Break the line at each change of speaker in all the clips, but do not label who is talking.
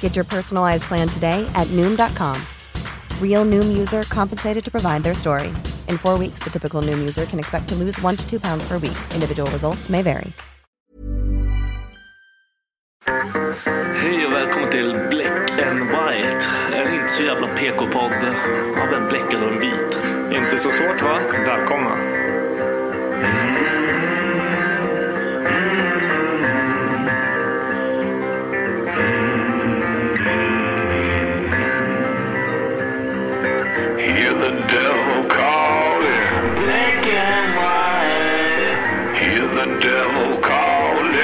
Get your personalized plan today at Noom.com. Real Noom user compensated to provide their story. In four weeks, the typical Noom user can expect to lose one to two pounds per week. Individual results may vary.
Hej och välkommen till Black and White. En inte så jävla PK-podd av en bläckad och en vit.
Inte så svårt va? Välkomna.
Hear the devil calling. Black and white. Hear the devil calling.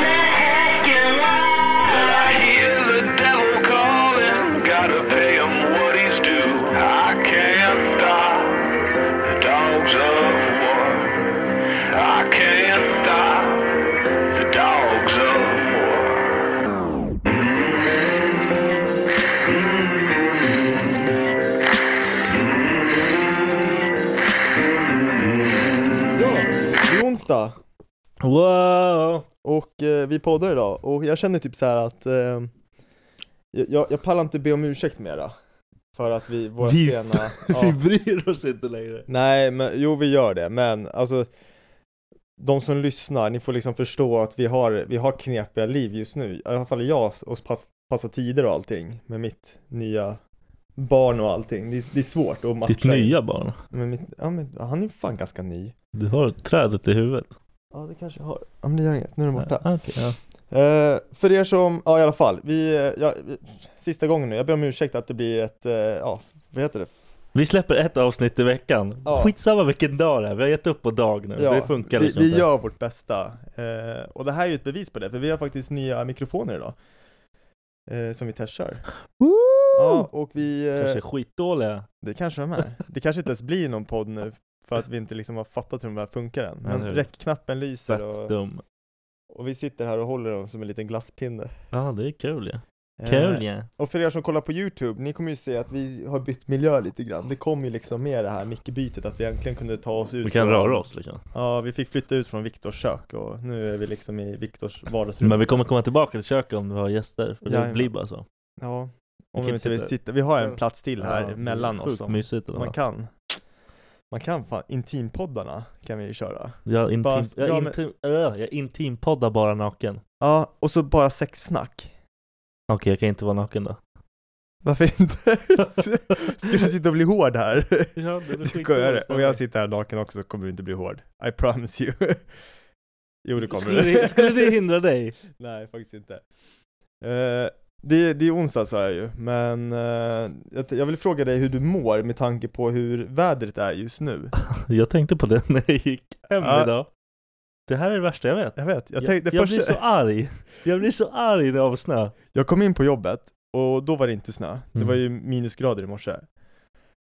Black and white. I hear the devil calling. Gotta pay him what he's due. I can't stop the dogs of war. I can't stop the dogs of war.
Det är onsdag
Wow!
och eh, vi poddar idag och jag känner typ så här att eh, jag, jag pallar inte be om ursäkt mera För att vi, våra
Vi-
sena
Vi
ja.
bryr oss inte längre.
Nej men jo vi gör det men alltså De som lyssnar, ni får liksom förstå att vi har, vi har knepiga liv just nu I alla fall jag och pass, passa tider och allting med mitt nya barn och allting Det, är- det är svårt att matcha
Ditt nya barn.
men mitt, ja, men, Han är fan ganska ny
Du har trädet i huvudet.
Ja det kanske jag har, ja men det gör inget, nu är den borta
Ja, okej, ja.
Eh, för er som, ja i alla fall, vi, eh, ja, vi- sista gången nu, jag ber om ursäkt att det blir ett, eh, ja, vad heter det?
Vi släpper ett avsnitt i veckan.
Ja.
Skitsamma vilken dag det är. Vi har gett upp på dag nu.
Ja,
det funkar
vi,
liksom
vi
inte.
gör vårt bästa, eh, och det här är ju ett bevis på det, för vi har faktiskt nya mikrofoner idag, eh, som vi testkör.
Woo!
Ja, och vi, eh,
Kanske är skitdåliga.
det kanske de är. Det kanske inte ens blir någon podd nu, för att vi inte liksom har fattat hur de här funkar än,
Nej, det är
men
det.
räckknappen lyser
Fett
och,
dum.
och vi sitter här och håller dem som en liten glasspinne.
Ja, det är kul ju.
Eh,
Kul ju.
Och för er som kollar på Youtube, ni kommer ju se att vi har bytt miljö lite grann Det kom ju liksom med det här mickbytet att vi egentligen kunde ta oss ut
Vi kan
från-
röra oss liksom.
Ja, vi fick flytta ut från Viktors kök och nu är vi liksom i Viktors vardagsrum
Men vi kommer komma tillbaka till köket om vi har gäster. För det
Jajamän.
blir bara så.
Ja,
kan
om vi, inte vill
sitta-
sitta. vi har en plats till här
Ja,
mellan oss
Sjukt
som
mysigt. eller
man
vad?
kan Man kan fan, intimpoddarna kan vi ju köra
Jag, intim,
Bara-
jag,
ja, men-
intim, äh, jag intimpoddar bara naken. Okej,
Ja, och så bara sexsnack
jag kan inte vara naken då.
Varför inte? Ska du sitta och bli hård här?
Ja, det
Du kommer göra det, om jag sitter här naken också kommer du inte bli hård I promise you Jo det kommer
skulle,
du
det, skulle det hindra dig?
Nej, faktiskt inte. Eh, det, det är onsdag sa jag ju, men eh, jag, jag vill fråga dig hur du mår med tanke på hur vädret är just nu.
Jag tänkte på det när jag gick hem
Ja.
idag. Det här är det värsta jag vet.
Jag vet, jag
Jag,
tänkte
jag
först...
blir så arg. Jag blir så arg när det är snö.
Jag kom in på jobbet och då var det inte snö. Det
Mm.
var ju minusgrader i morse.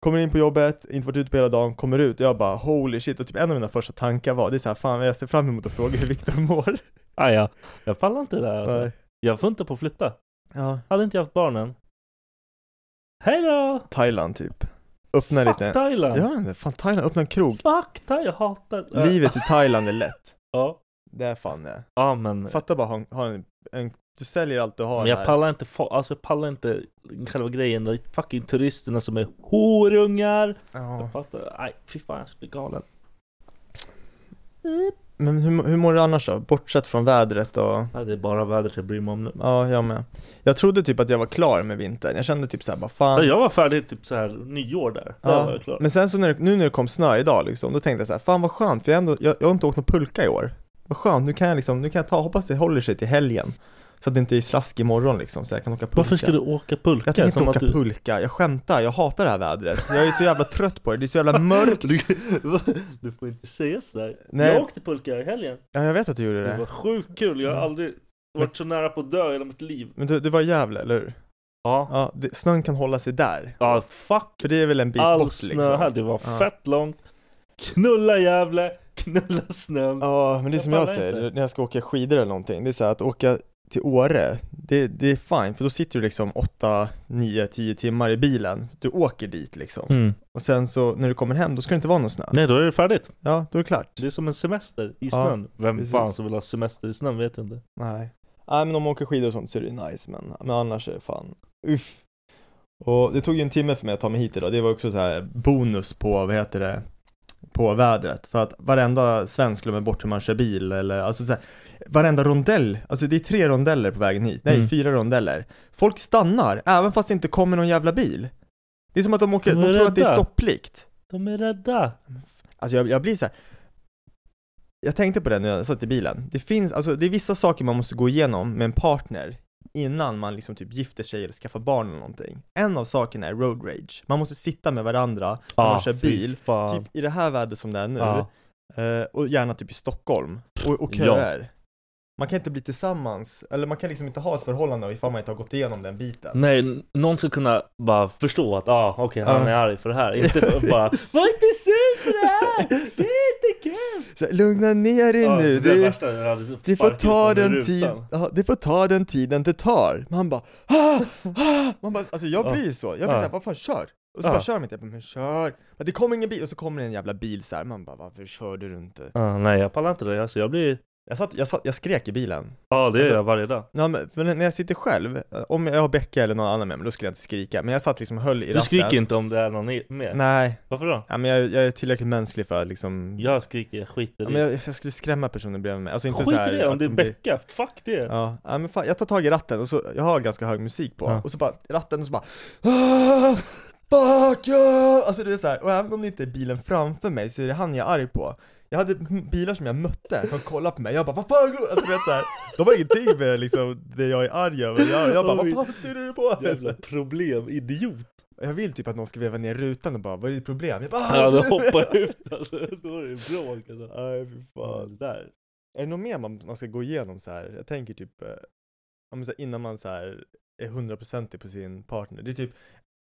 Kommer in på jobbet, inte varit ute på hela dagen, kommer ut och jag bara holy shit och typ en av mina första tankar var det är så här, fan jag ser fram emot att fråga hur Viktor mår.
Ah, ja. Jag pallar inte det där alltså.
Nej.
Jag funtar på att flytta.
Ja,
Hade inte jag haft barnen. Hej då!
Thailand typ. Öppna
Fuck
lite.
Thailand!
Ja, fan Thailand, öppna en krog.
Fuck Thailand, jag hatar... Ja.
Livet i Thailand är lätt.
Ja.
Det är fan det.
Ja men...
Fatta bara, ha en, ha en, en, du säljer allt du har
Men jag
här.
pallar inte, fo- alltså jag pallar inte själva grejen, de fucking turisterna som är horungar!
Ja.
Jag fattar, nej fy fan jag skulle bli galen.
Men hur, hur mår du annars då? Bortsett från vädret och...
Nej, det är bara vädret jag bryr mig om nu.
Ja, jag med. Jag trodde typ att jag var klar med vintern. Jag kände typ såhär, bara fan.
Jag var färdig typ så här nyår där, där var jag klar.
Men sen så när, det- nu när det kom snö idag liksom, då tänkte jag så här, fan vad skönt för jag, har ändå, jag, jag har inte åkt någon pulka i år. Vad skönt, nu kan jag liksom, nu kan jag ta, hoppas det håller sig till helgen. Så att det inte är slask imorgon liksom, så jag kan åka pulka.
Varför ska du åka pulka?
Jag tänker inte
Som
åka
att du-
pulka, jag skämtar, jag hatar det här vädret. Jag är så jävla trött på det, det är så jävla mörkt.
Du får inte säga sådär.
Nej.
Jag åkte pulka i helgen.
Ja, jag vet att du gjorde
Det var
det.
sjukt kul, jag har
Mm.
aldrig varit så nära på att dö i hela mitt liv.
Men du, du var i Gävle, eller hur?
Ja.
Ja, det, snön kan hålla sig där.
Ja, fuck
För det är väl en bit
all
bort
snö
liksom.
här, det var
Ja.
fett långt. Knulla Gävle, knulla snön.
Ja, men det är
Jag
som jag
pallar
säger,
inte.
när jag ska åka skidor eller någonting, det är så här att åka till Åre, det, det är fine, för då sitter du liksom 8, 9, 10 timmar i bilen. Du åker dit liksom.
Mm.
Och sen så när du kommer hem, då ska det inte vara någon snö.
Nej, då är det färdigt.
Ja, då är det klart.
Det är som en semester i
Ja,
snön. Vem
precis.
fan som vill ha semester i snön vet jag inte.
Nej. Nej, men om man åker skidor och sånt så är det ju nice, men, men annars är det fan, uff. Och det tog ju en timme för mig att ta mig hit idag, det var också så här bonus på, vad heter det, på vädret. För att varenda svensk glömmer bort hur man kör bil eller, alltså så här, varenda rondell, alltså det är tre rondeller på vägen hit, nej
Mm.
fyra rondeller. Folk stannar, även fast det inte kommer någon jävla bil. Det är som att de åker,
De
de
är
tror att det är
rädda.
stopplikt.
De är rädda.
Alltså jag, jag blir så här. Jag tänkte på det när jag satt i bilen. Det finns, alltså det är vissa saker man måste gå igenom med en partner innan man liksom typ gifter sig eller skaffar barn eller någonting. En av sakerna är road rage. Man måste sitta med varandra när man kör
Ah, fy
bil,
Fan.
typ i det här vädret som det är nu,
Ja.
eh, och gärna typ i Stockholm, och, och
Ja.
köer. Man kan inte bli tillsammans, eller man kan liksom inte ha ett förhållande ifall man inte har gått igenom den biten.
Nej, n- någon ska kunna bara förstå att ah, okej han
Ja.
är arg för det här. Inte för- bara Var inte sur för det här! Det är inte kul!
Så, här, lugna ner dig
Ja,
nu!
det är
du-
det värsta, jag hade
Det får
sparkat
ta
honom i
den tid,
rutan.
ja, det får ta den tiden det tar. Man bara, ah, ah. Man bara alltså jag blir ju så, jag blir
Ja.
såhär, vad fan kör? Och så
Ja.
bara kör de inte, Jag bara, men kör! Men det kommer ingen bil, och så kommer det en jävla bil så här. man bara varför körde du inte?
Ah, nej, jag pallar inte det. Alltså, jag blir...
Jag, satt, jag, satt, jag skrek i bilen.
Ja, det gör
Alltså-
jag varje dag.
Ja, men, för när jag sitter själv, eh, om jag har Becka eller någon annan med mig, då skulle jag inte skrika. Men jag satt liksom och höll i
Du
ratten.
skriker inte om det är någon i- med?
Nej,
Varför då?
ja, men jag, jag är tillräckligt mänsklig för att liksom
Jag skriker, jag skiter
ja,
i
men jag, jag skulle skrämma personen bredvid mig. Alltså inte så
Skit
här,
i det om
att
det är
de blir-
Becka, fuck det!
Ja, ja men fan, jag tar tag i ratten och så, jag har ganska hög musik på,
Ja.
och så bara, ratten och så bara "Ah, Fuck yeah! Alltså det är så här, och även om det inte är bilen framför mig så är det han jag är arg på Jag hade m- bilar som jag mötte som kollade på mig, jag bara vad fan glo-" Alltså du vet så här, de har ingenting med liksom det jag är arg över, jag, jag bara vad fan styr du på?
Jävla problemidiot!
Jag vill typ att någon ska veva ner rutan och bara vad är ditt problem? Jag bara, "Ah,
Ja, då
du-"
hoppar ut alltså, då är det bråk alltså.
Nej fy
Ja,
fan
det där.
Är det något mer man, man ska gå igenom så här? Jag tänker typ, eh, ja, men så här, innan man så här är hundraprocentig på sin partner. Det är typ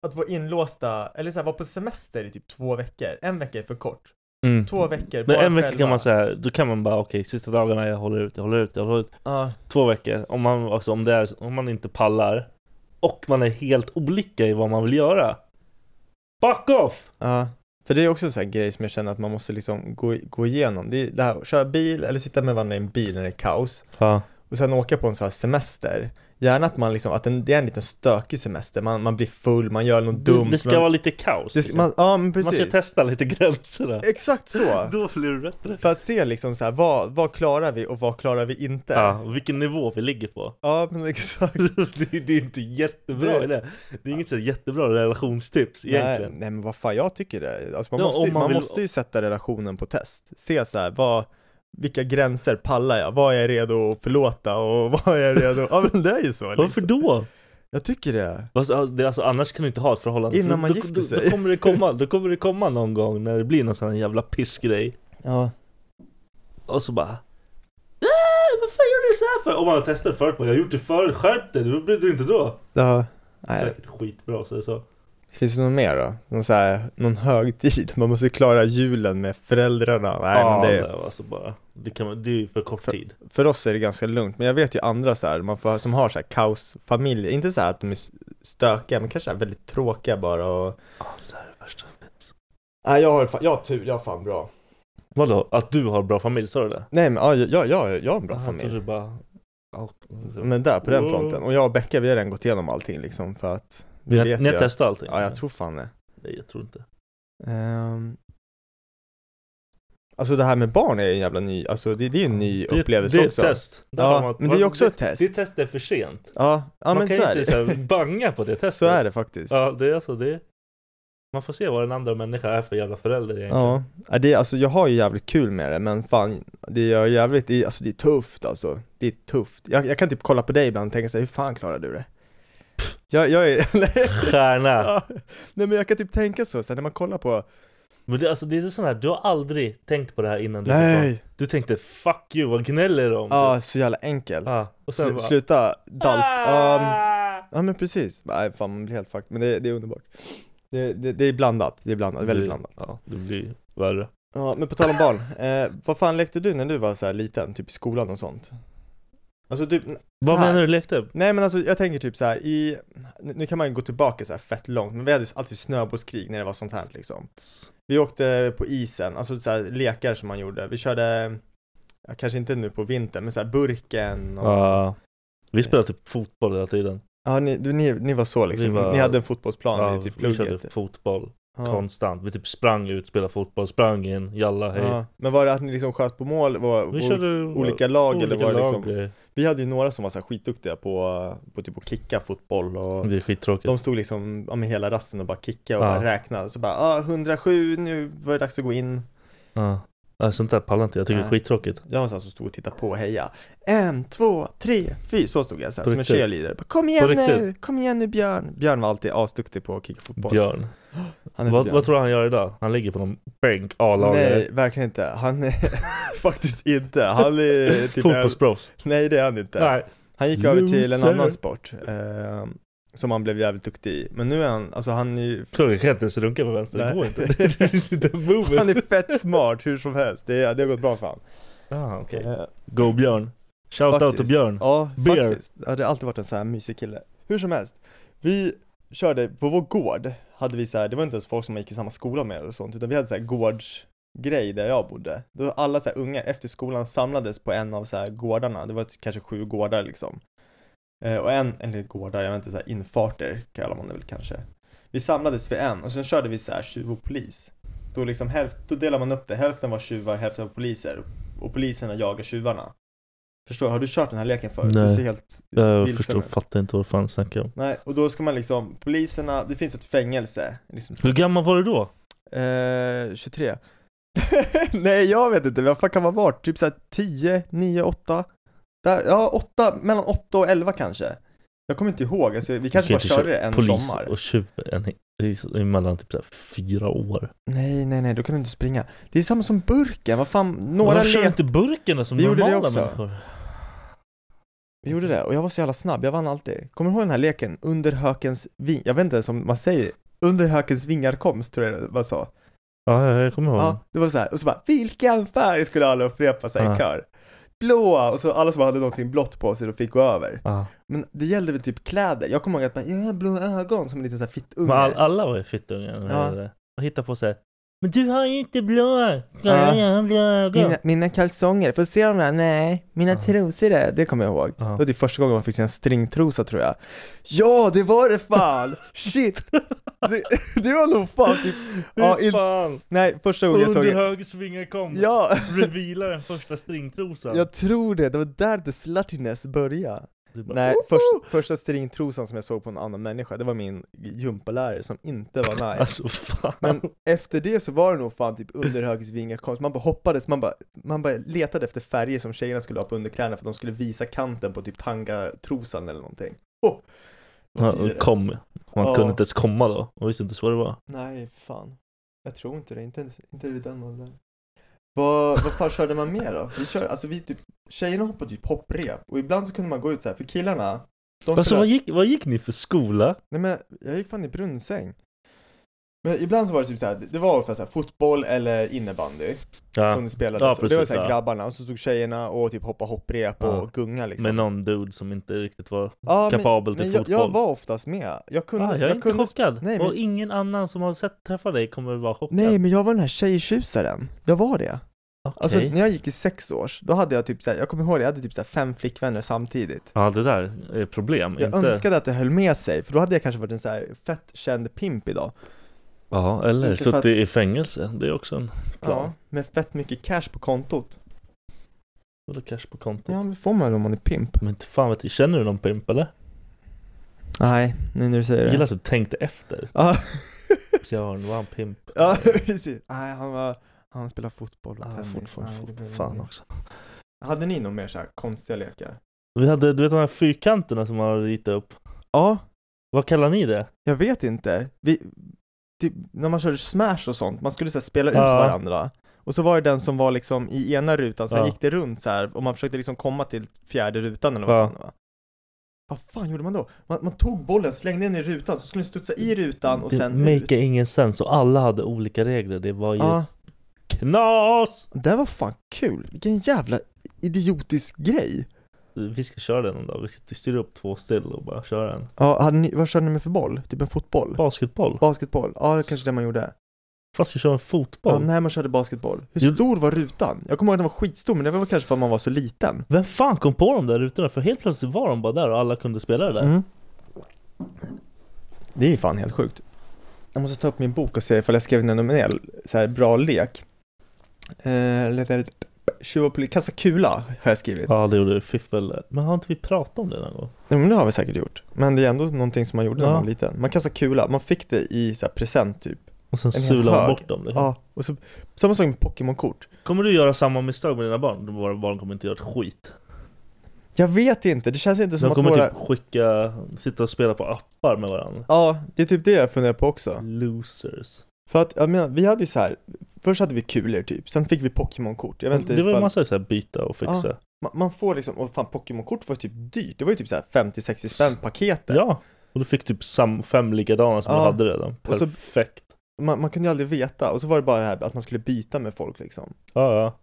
att vara inlåsta, eller så här, vara på semester i typ två veckor. En vecka är för kort.
Mm.
Två veckor,
Men
bara
en vecka
själva.
kan man säga, då kan man bara okej, sista dagarna jag håller ut, jag håller ut, jag håller ut.
Ja,
Två veckor, om man, alltså, om, det är, om man inte pallar och man är helt olika i vad man vill göra. Fuck off!
ja. För det är också en sån här grej som jag känner att man måste liksom gå, gå igenom. Det är det här, köra bil eller sitta med varandra i en bil när det är kaos.
Ja.
Och sen åka på en sån här semester. Gärna att man liksom, att en, det är en liten stökig semester. Man, man blir full, man gör något
Det,
dumt.
det ska
man,
vara lite kaos.
det
liksom.
ska, man, ja, men
man
precis.
ska testa lite gränserna.
Exakt så!
Då blir det bättre.
För att se liksom så här, vad, vad klarar vi och vad klarar vi inte?
Ja, vilken nivå vi ligger på.
Ja, men exakt.
det, det är inte jättebra det,
Det-
det. det är inget så jättebra relationstips
Nej,
egentligen.
nej men vad fan, jag tycker det. Alltså, man,
Ja,
måste, ju-
om man
man
vill-
måste ju sätta relationen på test. Se så här, vad, vilka gränser pallar jag? Vad är jag redo att förlåta och vad är jag redo? Ja men det är ju så liksom.
Varför då?
Jag tycker det.
Alltså, det, alltså, annars kan du inte ha ett förhållande
Innan
För
man
då,
gifter
då,
sig.
Då kommer, det komma, då kommer det komma någon gång när det blir någon sån här jävla pissgrej
Ja.
Och så bara "Äh, vad fan gör du så här för? Om man har testat förut bara, jag har gjort det förut, skärp dig, då brydde du inte då.
Ja, nej.
Säkert skitbra så det så.
Finns det något mer då? Någon, så här, någon högtid? Man måste klara julen med föräldrarna. Nej,
ja,
men det,
det var alltså bara. Det, kan, man- det är ju för kort tid.
För oss är det ganska lugnt, men jag vet ju andra så här, man får, som har så här kaosfamiljer, inte så här att de är stökiga, men kanske så här väldigt tråkiga bara och...
Ja, det här är det värsta som finns.
Nej, jag har, fa- jag har tur, jag har fan bra.
Vadå? Att du har bra familj, sa du det? Ah,
Nej men ja, jag, jag, jag har en bra
Jag
familj.
trodde du bara... Ja, så-
Men där, på den
Wow.
fronten. Och jag och Becka, vi har redan gått igenom allting liksom för att vi
Ni har-
vet
Ni
ju
har
att-
testat allting?
Ja, jag tror fan det.
Nej, jag tror inte.
Ehm, Alltså det här med barn är en jävla ny, alltså det, det är en ny
Det är-
upplevelse
det är ett
också.
test. Där har
Ja,
man-
men det är ju också ett
Det
test.
testet är för sent.
Ja, ja
man
men
kan
så
ju
är
inte så här
det.
banga på det testet.
Så är det faktiskt.
Ja, det är alltså det. Man får se vad den andra människan är för jävla förälder egentligen.
Ja, ja, det, är- alltså jag har ju jävligt kul med det men fan, det gör jävligt, det, är- alltså det är tufft alltså Det är tufft, jag, jag kan typ kolla på dig ibland och tänka såhär, hur fan klarar du det? Jag, jag är,
Stjärna.
ja. nej men jag kan typ tänka så, så här, när man kollar på
Men det, alltså, det är sån här, du har aldrig tänkt på det typ här innan du fick barn.
Nej!
Du tänkte 'fuck you, vad gnäller de?' Typ.
Ja, så jävla enkelt
Ja, och sen
Slu,
bara-
Sluta dalt, Ehm, ja,
Ah!
ja men precis, nej fan man blir helt fucked, men det, det är underbart det, det, det är blandat, det är blandat, väldigt
Det-
blandat
Ja, det blir värre.
Ja, men på tal om barn, eh, vad fan lekte du när du var så här liten, typ i skolan och sånt? Alltså typ, så
Vad
här.
menar du lekte?
Nej men alltså jag tänker typ så här i, nu nu kan man ju gå tillbaka så här fett långt, men vi hade alltid snöbollskrig när det var sånt här liksom. Vi åkte på isen, alltså så här lekar som man gjorde, vi körde, ja, kanske inte nu på vintern, men så här burken och, ja,
Ja. vi spelade typ fotboll hela tiden.
ni, du- ni, ni var så liksom,
Vi var-
ni hade en fotbollsplan
Ja,
i typ
vi körde
plugget.
fotboll
Ja.
konstant. Vi typ sprang ut, spelade fotboll, sprang in, jalla hej.
Ja. Men var det att ni liksom sköt på mål, var,
vi
var
körde
olika lag eller
olika
var det
lag,
liksom?
grejer.
Vi hade ju några som var så här skitduktiga på, på typ att kicka fotboll och
Det är skittråkigt.
De stod liksom ja, med hela rasten och bara kicka och
Ja.
bara räkna så bara ah, 107, nu var det dags att gå in
Ja. Ja, sånt där pallar inte jag. tycker det är
Nej.
skittråkigt.
Jag var sån här som stod och tittade på och heja En, två, tre, fyra, så stod jag så här,
På
som en
riktigt?
cheerleader bara, Kom igen nu,
riktigt?
kom igen nu Björn Björn var alltid asduktig på att kicka fotboll
Björn.
Han heter
Vad,
Björn.
vad tror du han gör idag? Han ligger på någon bänk, A-lagare.
Nej, verkligen inte Han är faktiskt inte Han är typ en...
Fotbollsproffs.
Nej det är han inte
Nej.
Han gick över till en
Loser.
annan sport eh, Som han blev jävligt duktig i Men nu är han, alltså han är ju
Klockan kan inte ens runka med vänster. Det
Nej.
går inte. Det finns inte en movement.
Han är fett smart hur som helst, det, det har gått bra för han
Ah, okej.
Eh,
Go Björn. Shout out till
Faktiskt.
Björn.
Ja,
Beer.
faktiskt. Ja, det har alltid varit en sån här mysig kille. Hur som helst, vi körde, på vår gård hade vi så här, det var inte ens folk som man gick i samma skola med eller sånt, utan vi hade så här gårdsgrej där jag bodde. Då alla så här ungar efter skolan samlades på en av så här gårdarna, det var ett- kanske sju gårdar liksom. Eh, och en, eller gårdar, jag vet inte, så här infarter kallar man det väl kanske. Vi samlades vid en och sen körde vi så här tjuv och polis. Då liksom hälft, då delar man upp det, hälften var tjuvar, hälften var poliser och poliserna jagar tjuvarna. Förstår du? Har du kört den här leken förut? Du
Nej.
ser helt
Jag
vilsen
förstår,
ut.
fattar inte vad fan du snackar om.
Nej, och då ska man liksom, poliserna, det finns ett fängelse, liksom,
Hur gammal var du då?
eh, 23 Nej jag vet inte, vad fan kan man vara? Typ såhär 10, 9, 8? Där, ja 8, mellan 8 och 11 kanske Jag kommer inte ihåg, alltså, vi kanske
kan
bara
inte
körde
köra
det en
Polis
sommar
och tjuv en- i- emellan typ så här fyra år.
Nej nej nej, då kan du inte springa Det är samma som burken, vad fan, några
Varför kör
le...
inte burken då som
Vi gjorde det
normala
också.
människor?
Vi gjorde det, och jag var så jävla snabb, jag vann alltid Kommer du ihåg den här leken, under hökens ving... Jag vet inte ens om man säger under hökens vingar komst, tror jag man sa
Ja, ja, jag kommer ihåg.
Ja, det var så här. och så bara vilken färg skulle alla upprepa sig
Ja.
i kör? Blåa! Och så alla som hade någonting blått på sig, de fick gå över.
Ja.
Men det gällde väl typ kläder? Jag kommer ihåg att man, ja, blå ögon som en liten sån här fittunge.
Men all, alla var ju fittungar.
Ja.
Ja. Och hittade på såhär Men du har ju inte blå
Ja.
ja. jag har blå ögon.
mina, mina kalsonger, får se dem där? Nej, mina
Ja.
trosor där, det kommer jag ihåg.
Ja.
Det var typ första gången man fick se en stringtrosa tror jag. Ja, det var det fan! Shit! Det, det var nog fan typ, ja,
Hur
in,
fan?
nej första gången jag såg
Under
en,
höger svinga kom.
ja,
Reveala den första stringtrosan.
jag tror det, det var där the sluttiness började.
Du bara,
Nej,
"Woho!"
först, första stringtrosan som jag såg på en annan människa, det var min gympalärare som inte var nice
Alltså fan.
Men efter det så var det nog fan typ underhögsvingar konst, man bara hoppades, man bara, man bara letade efter färger som tjejerna skulle ha på underkläderna för att de skulle visa kanten på typ tangatrosan eller någonting oh,
Ja,
vad tider det-
kom. Man
Ja.
kunde inte ens komma då. Man visste inte ens vad det var.
Nej, fan Jag tror inte det, inte, inte vid den åldern Vad, vad fan körde man mer då? Vi kör, alltså vi typ, tjejerna hoppade typ hopprep och ibland så kunde man gå ut så här för killarna, de
Alltså
spelade-
vad gick, vad gick ni för skola?
Nej men jag gick fan i Brunnsäng. Men ibland så var det typ såhär, det var ofta såhär fotboll eller innebandy
Ja,
som det spelades.
Ja,
och det
precis,
var såhär
ja.
grabbarna och så stod tjejerna och typ hoppa hopprep och
Ja.
gunga liksom.
Med någon dude som inte riktigt var
ja,
kapabel
men,
till
men jag, jag
fotboll.
var oftast med. Jag kunde,
ah, jag är
jag
inte
kunde
chockad.
Nej, men-
Och ingen annan som har sett träffa dig kommer vara chockad.
Nej men jag var den här tjejtjusaren, jag var det.
Okej.
Alltså när jag gick i sex års, då hade jag typ såhär, jag kommer ihåg det, jag hade typ såhär fem flickvänner samtidigt.
Ja, det där är problem.
Jag
inte...
önskade att det höll med sig, för då hade jag kanske varit en såhär fett känd pimp idag.
Ja, eller
Inte för
suttit
att-
i fängelse. Det är också en
Ja,
plan.
med fett mycket cash på kontot.
Vadå cash på kontot?
Ja, det får man om man är pimp.
Men inte fan vet jag, känner du någon pimp eller?
Nej, nu när du säger
Jag
det.
gillar att du tänkte efter.
Ja,
Björn, var han pimp?
ja precis. Nej, han var, han spelar fotboll och
Ah,
tennis.
fortfarande
Nej, det
fotboll.
blev
Fan
inget.
också.
Hade ni någon mer så här konstiga lekar?
Vi hade, du vet de här fyrkanterna som man har ritat upp?
Ja,
Vad kallar ni det?
jag vet inte. Vi, typ, när man körde smash och sånt, man skulle så här, spela ut
Ja.
varandra. Och så var det den som var liksom i ena rutan, sen
Ja.
gick det runt så här och man försökte liksom komma till fjärde rutan eller vad
Ja.
fan det var. Vad fan gjorde man då? Man, man tog bollen, slängde den i rutan, så skulle den studsa i rutan och
det
sen
make
ut.
ingen sens och alla hade olika regler. Det var ju
Ja.
knas!
Det var fan kul, vilken jävla idiotisk grej!
Vi ska köra den någon dag. Vi ska styra upp två still och bara köra en.
Ja, hade ni, vad körde ni med för boll? Typ en fotboll?
Basketboll?
Basketboll? Ja, det var kanske det man gjorde.
Fast vi kör en
Ja,
fotboll?
nej, man körde basketboll. Hur
Jo.
stor var rutan? Jag kommer ihåg att den var skitstor, men det var kanske för att man var så liten.
Vem fan kom på de där rutorna? För helt plötsligt var de bara där och alla kunde spela det där.
Mm. Det är ju fan helt sjukt. Jag måste ta upp min bok och se ifall jag skrev en nominell, så här bra lek. Eh, lite- lite- Tjuv och poli- kasta kula har jag skrivit.
Ja, det gjorde Fiffel. Men har inte vi pratat om det någon gång?
Jo, men det har vi säkert gjort. Men det är ändå någonting som man gjorde när
Ja.
man var liten. Man kastade kula, man fick det i så här present typ.
Och sen
hel
sulade man
hög.
bort dem. Liksom.
Ja, och så, samma sak med Pokémon-kort.
Kommer du göra samma misstag med dina barn? Våra barn kommer inte göra ett skit.
Jag vet inte, det känns inte som
De
att
kommer
våra...
typ skicka, sitta och spela på appar med varandra.
Ja, det är typ det jag funderar på också.
Losers.
För att, jag menar, vi hade ju så här. först hade vi kulor typ, sen fick vi Pokémon-kort. Jag vet inte
Det var ju
ifall-
massa så här byta och fixa.
man, man får liksom, och fan Pokémon-kort var typ dyrt, det var ju typ så här 50-60 spänn paketet.
Ja, och du fick typ sam, fem likadana som
Ja.
du hade redan.
Och så-
Perfekt.
Man, man kunde ju aldrig veta, och så var det bara det här att man skulle byta med folk liksom.
Ja, ja.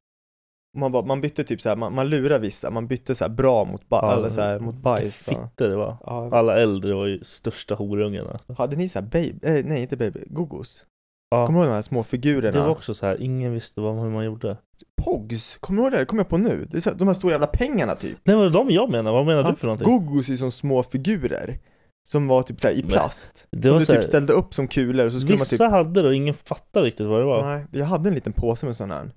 Man, bara, man bytte typ så här, man, man lurar vissa, man bytte så här bra mot, ba-
ja.
eller så här, mot bajs. va?
Fitter det var.
Ja.
Alla äldre var ju största horungarna.
Hade ni så här babe, eh, nej inte babe, gogos?
Ja.
Kommer du ihåg de här små
Det
figurerna?
var också så här, ingen visste vad, hur man gjorde.
Pogs, kommer du ihåg det? Det kommer jag på nu. Det är så här, de här stora jävla pengarna typ.
Nej, vad de jag menar? Vad menar
Ja,
du för någonting?
Gogos är som små figurer. Som var typ såhär i
Men,
plast.
det
som
var
du
så här-
typ ställde upp som kulor och så skulle
Vissa
man typ...
hade det och ingen fattade riktigt vad det var.
Nej, jag hade en liten påse med sådana här.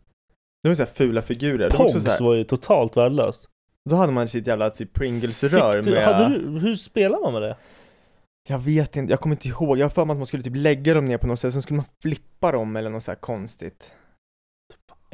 Det var såhär fula figurer. Det var också så
Pogs
här,
var ju totalt värdelöst.
Då hade man sitt jävla typ Pringles-rör
Fick du,
med...
hade du, hur spelar man med det?
Jag vet inte, jag kommer inte ihåg. Jag har för mig att man skulle typ lägga dem ner på något sätt, sen skulle man flippa dem eller något så här konstigt.